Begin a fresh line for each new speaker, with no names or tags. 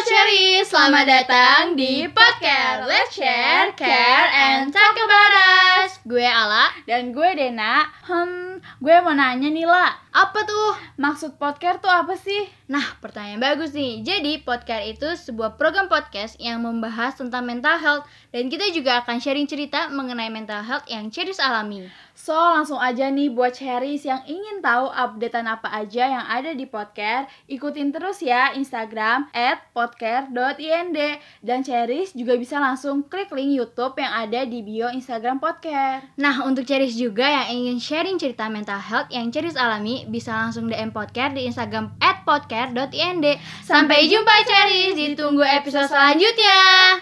Cherry, selamat datang di podcast Let's Share, Care, and Talk About Us Gue Ala
Dan gue Dena, hmm, gue mau nanya nih lah,
Apa tuh?
maksud podcast tuh apa sih?
Nah, pertanyaan bagus nih Jadi, podcast itu sebuah program podcast yang membahas tentang mental health Dan kita juga akan sharing cerita mengenai mental health yang Cherries alami
So langsung aja nih buat cherries yang ingin tahu updatean apa aja yang ada di podcast, ikutin terus ya Instagram at podcast.ind dan cherries juga bisa langsung klik link YouTube yang ada di bio Instagram podcast.
Nah, untuk Cherries juga yang ingin sharing cerita mental health yang Cherries alami Bisa langsung DM podcast di Instagram at podcast.ind Sampai jumpa Cherries, ditunggu episode selanjutnya